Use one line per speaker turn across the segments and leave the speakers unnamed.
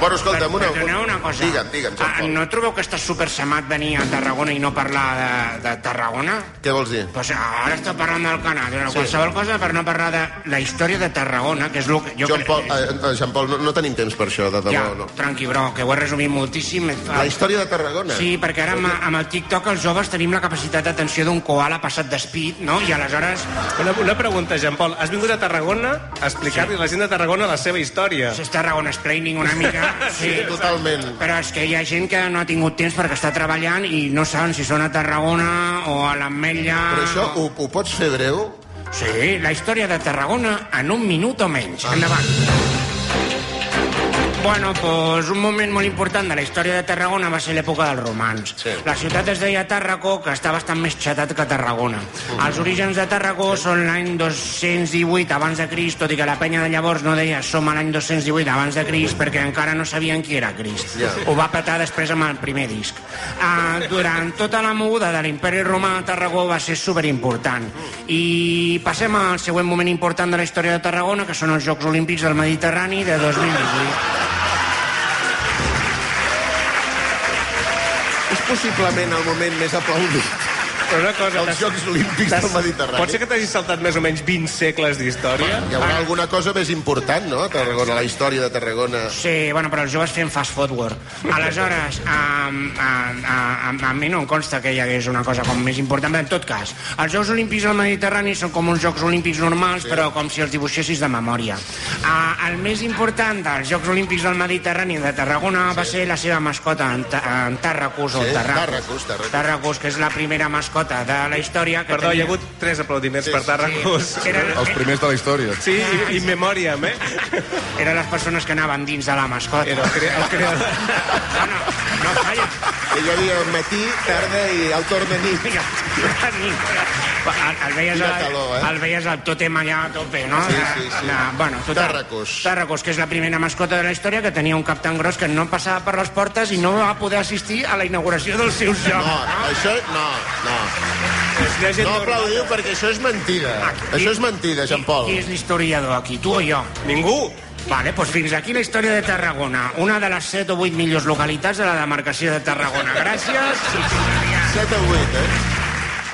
Bueno, escolta'm, una...
Perdoneu una cosa.
Digue'm, digue'm, Joan
Ah,
Pol.
no trobeu que està supersamat venir a Tarragona i no parlar de, de Tarragona?
Què vols dir?
Pues ara està parlant del Canà, però sí. qualsevol cosa per no parlar de la història de Tarragona, que és el que jo
Joan
crec-
Pol, eh, eh, Joan Pol no, no tenim temps per això, de debò,
ja,
no.
tranqui, bro, que ho he resumit moltíssim. Et fa-
La història de Tarragona.
Sí, perquè ara amb, amb el TikTok els joves tenim la capacitat d'atenció d'un koala passat d'espit, no? I aleshores...
Una, una pregunta, Jean Paul. Has vingut a Tarragona a explicar-li a la gent de Tarragona la seva història.
Això és Tarragona Explaining una mica. Sí,
totalment.
Però és que hi ha gent que no ha tingut temps perquè està treballant i no saben si són a Tarragona o a l'Ametlla...
Però això
o-
ho, ho pots fer breu?
Sí, la història de Tarragona en un minut o menys. Endavant. Bueno, doncs un moment molt important de la història de Tarragona va ser l'època dels romans.
Sí.
La ciutat es deia Tàrraco, que està bastant més xatat que Tarragona. Els orígens de Tàrraco són l'any 218 abans de Crist, tot i que la penya de llavors no deia som a l'any 218 abans de Crist, perquè encara no sabien qui era Crist.
Ja.
Ho va petar després amb el primer disc. Ah, durant tota la moguda de l'imperi romà, Tarragó va ser superimportant. I passem al següent moment important de la història de Tarragona, que són els Jocs Olímpics del Mediterrani de 2018.
És possiblement el moment més aplaudit.
Però una cosa...
Els
t'has-
Jocs Olímpics del
t'has-
Mediterrani.
Pot ser que t'hagis saltat més o menys 20 segles d'història?
Hi
Ah.
haurà alguna cosa més important, no, a Tarragona, la història de Tarragona.
Sí, bueno, però els joves fem fast forward. Aleshores, a, a, a, a, a mi no em consta que hi hagués una cosa com més important, però en tot cas, els Jocs Olímpics del Mediterrani són com uns Jocs Olímpics normals, sí. però com si els dibuixessis de memòria. A, el més important dels Jocs Olímpics del Mediterrani de Tarragona sí. va ser la seva mascota, en, Ta- en Tarracus, o
Sí,
Tarracus.
Tarracus, Tarracus.
Tarracus, que és la primera mascota de la història. Que
Perdó, hi
tenia...
ha hagut tres aplaudiments per Tarracus. Sí,
Era,
Els primers de la història.
sí i, i memòriam, eh?
eren les persones que anaven dins de la mascota.
Era el, cre el creador.
Bueno, no falla.
Que hi havia matí, tarda i el torn de nit.
Mira, el, el, veies
Quina
al,
calor, eh?
el veies al tòtem allà a tope, no?
Sí, sí, sí.
La- bueno, total,
Tàrracos.
Tàrracos, que és la primera mascota de la història, que tenia un cap tan gros que no passava per les portes i no va poder assistir a la inauguració dels seus jocs.
No, això... No, no.
És una gent
No
normal.
aplaudiu perquè això és mentida. Això és mentida, Jean Paul.
Qui és l'historiador aquí, tu o jo?
Ningú.
Vale, doncs fins aquí la història de Tarragona, una de les 7 o 8 millors localitats de la demarcació de Tarragona. Gràcies. i fins aviat.
7 a 8, eh?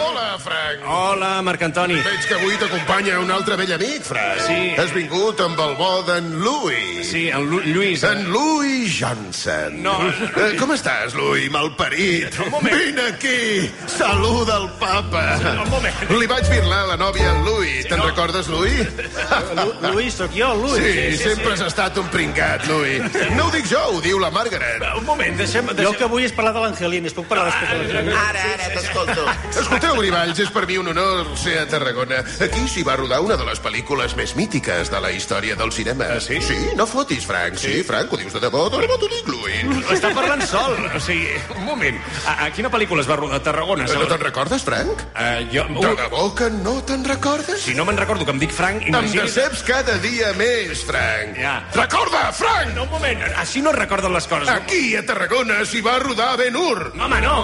Hola, Frank.
Hola, Marc Antoni.
Veig que avui t'acompanya un altre vell amic, Frank.
Sí.
Has vingut amb el bo d'en Louis.
Sí, en Lu Lluís.
En Louis Johnson.
No.
Eh, com estàs, Louis, malparit?
Un moment.
Vine aquí, saluda el papa.
un moment.
Li vaig birlar a la nòvia en Louis. Te'n recordes, Louis?
Lluís, sóc jo, Lluís.
Sí, sempre has estat un pringat, Louis. No ho dic jo, ho diu la Margaret.
Un moment, deixem... deixem... Jo que vull és parlar de l'Angelina, es puc parlar després de l'Angelina?
Ah.
Ara, ara, t'escolto.
Escolteu, Grimalls, és per mi un honor ser a Tarragona. Aquí s'hi va rodar una de les pel·lícules més mítiques de la història del cinema. Ah, sí? Sí, no fotis, Frank. Sí, Frank, ho dius de debò, de debò t'ho dic,
Ah,
Louis.
Està parlant sol. O sigui, un moment. A, a quina pel·lícula es va rodar a Tarragona?
No te'n recordes, Frank?
Uh, jo...
De
Uh,
debò que no te'n recordes?
si no me'n recordo que em dic Frank,
Em
imagini's...
deceps cada dia més, Frank.
Ja.
Recorda, Frank!
No, un moment. Així no es recorden les coses.
Aquí, a Tarragona, s'hi va rodar Ben Hur.
Home, no.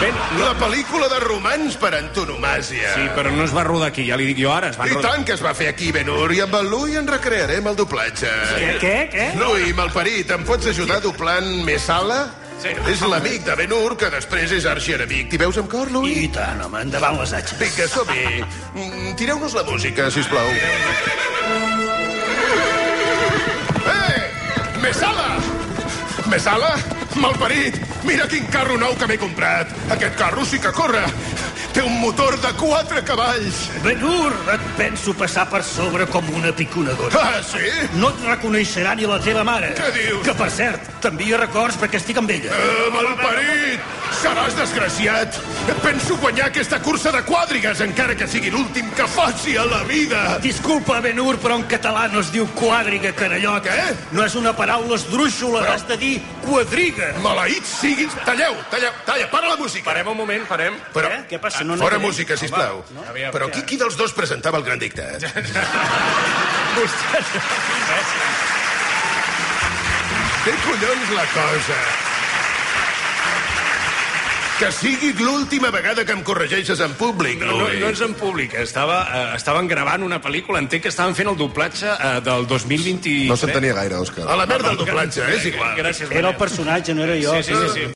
Ben,
La pel·lícula de romans per antonomàsia.
sí, però no es va rodar aquí, ja li dic jo ara. Es van
I
rodar...
tant que es va fer aquí, Ben Hur, i amb el Louis en recrearem el doblatge.
Què, què, què?
Lui, malparit, em pots ajudar doblant Messala? Sí. És l'amic de Ben Hur, que després és arxienemic. T'hi veus amb cor, Louis? I...
tant, home, endavant les atxes.
Vinga, som-hi. Mm, Tireu-nos la música, si us plau. Eh! Messala! Messala? Malparit! Mira quin carro nou que m'he comprat. Aquest carro sí que corre. Té un motor de quatre cavalls.
Benur, et penso passar per sobre com una piconadora.
Ah, sí?
No et reconeixerà ni la teva mare.
Què dius?
Que, per cert, t'envia records perquè estic amb ella.
Eh, malparit! Seràs desgraciat! Penso guanyar aquesta cursa de quadrigues, encara que sigui l'últim que faci a la vida!
Disculpa, Benur, però en català no es diu quadriga, carallot.
Què?
No és una paraula esdrúixola,
Però-
has de dir quadriga.
Maleïts siguin... Talleu, talleu, talla, para la música!
Parem un moment, parem.
Però...
Eh? Què passa? No
Fora
n'entenem.
música, sisplau.
no?
Aviam,
Però qui, qui dels dos presentava el gran dicte?
Vostè...
Té collons la cosa! Que sigui l'última vegada que em corregeixes en públic,
No, eh.
Louis.
no és en públic, estava, eh, estaven gravant una pel·lícula, entenc que estaven fent el doblatge eh, del 2023.
No s'entenia gaire, Òscar.
A la merda el doblatge, és igual.
Gràcies,
Era
Manel.
el personatge, no era jo.
Sí, sí, sí. sí.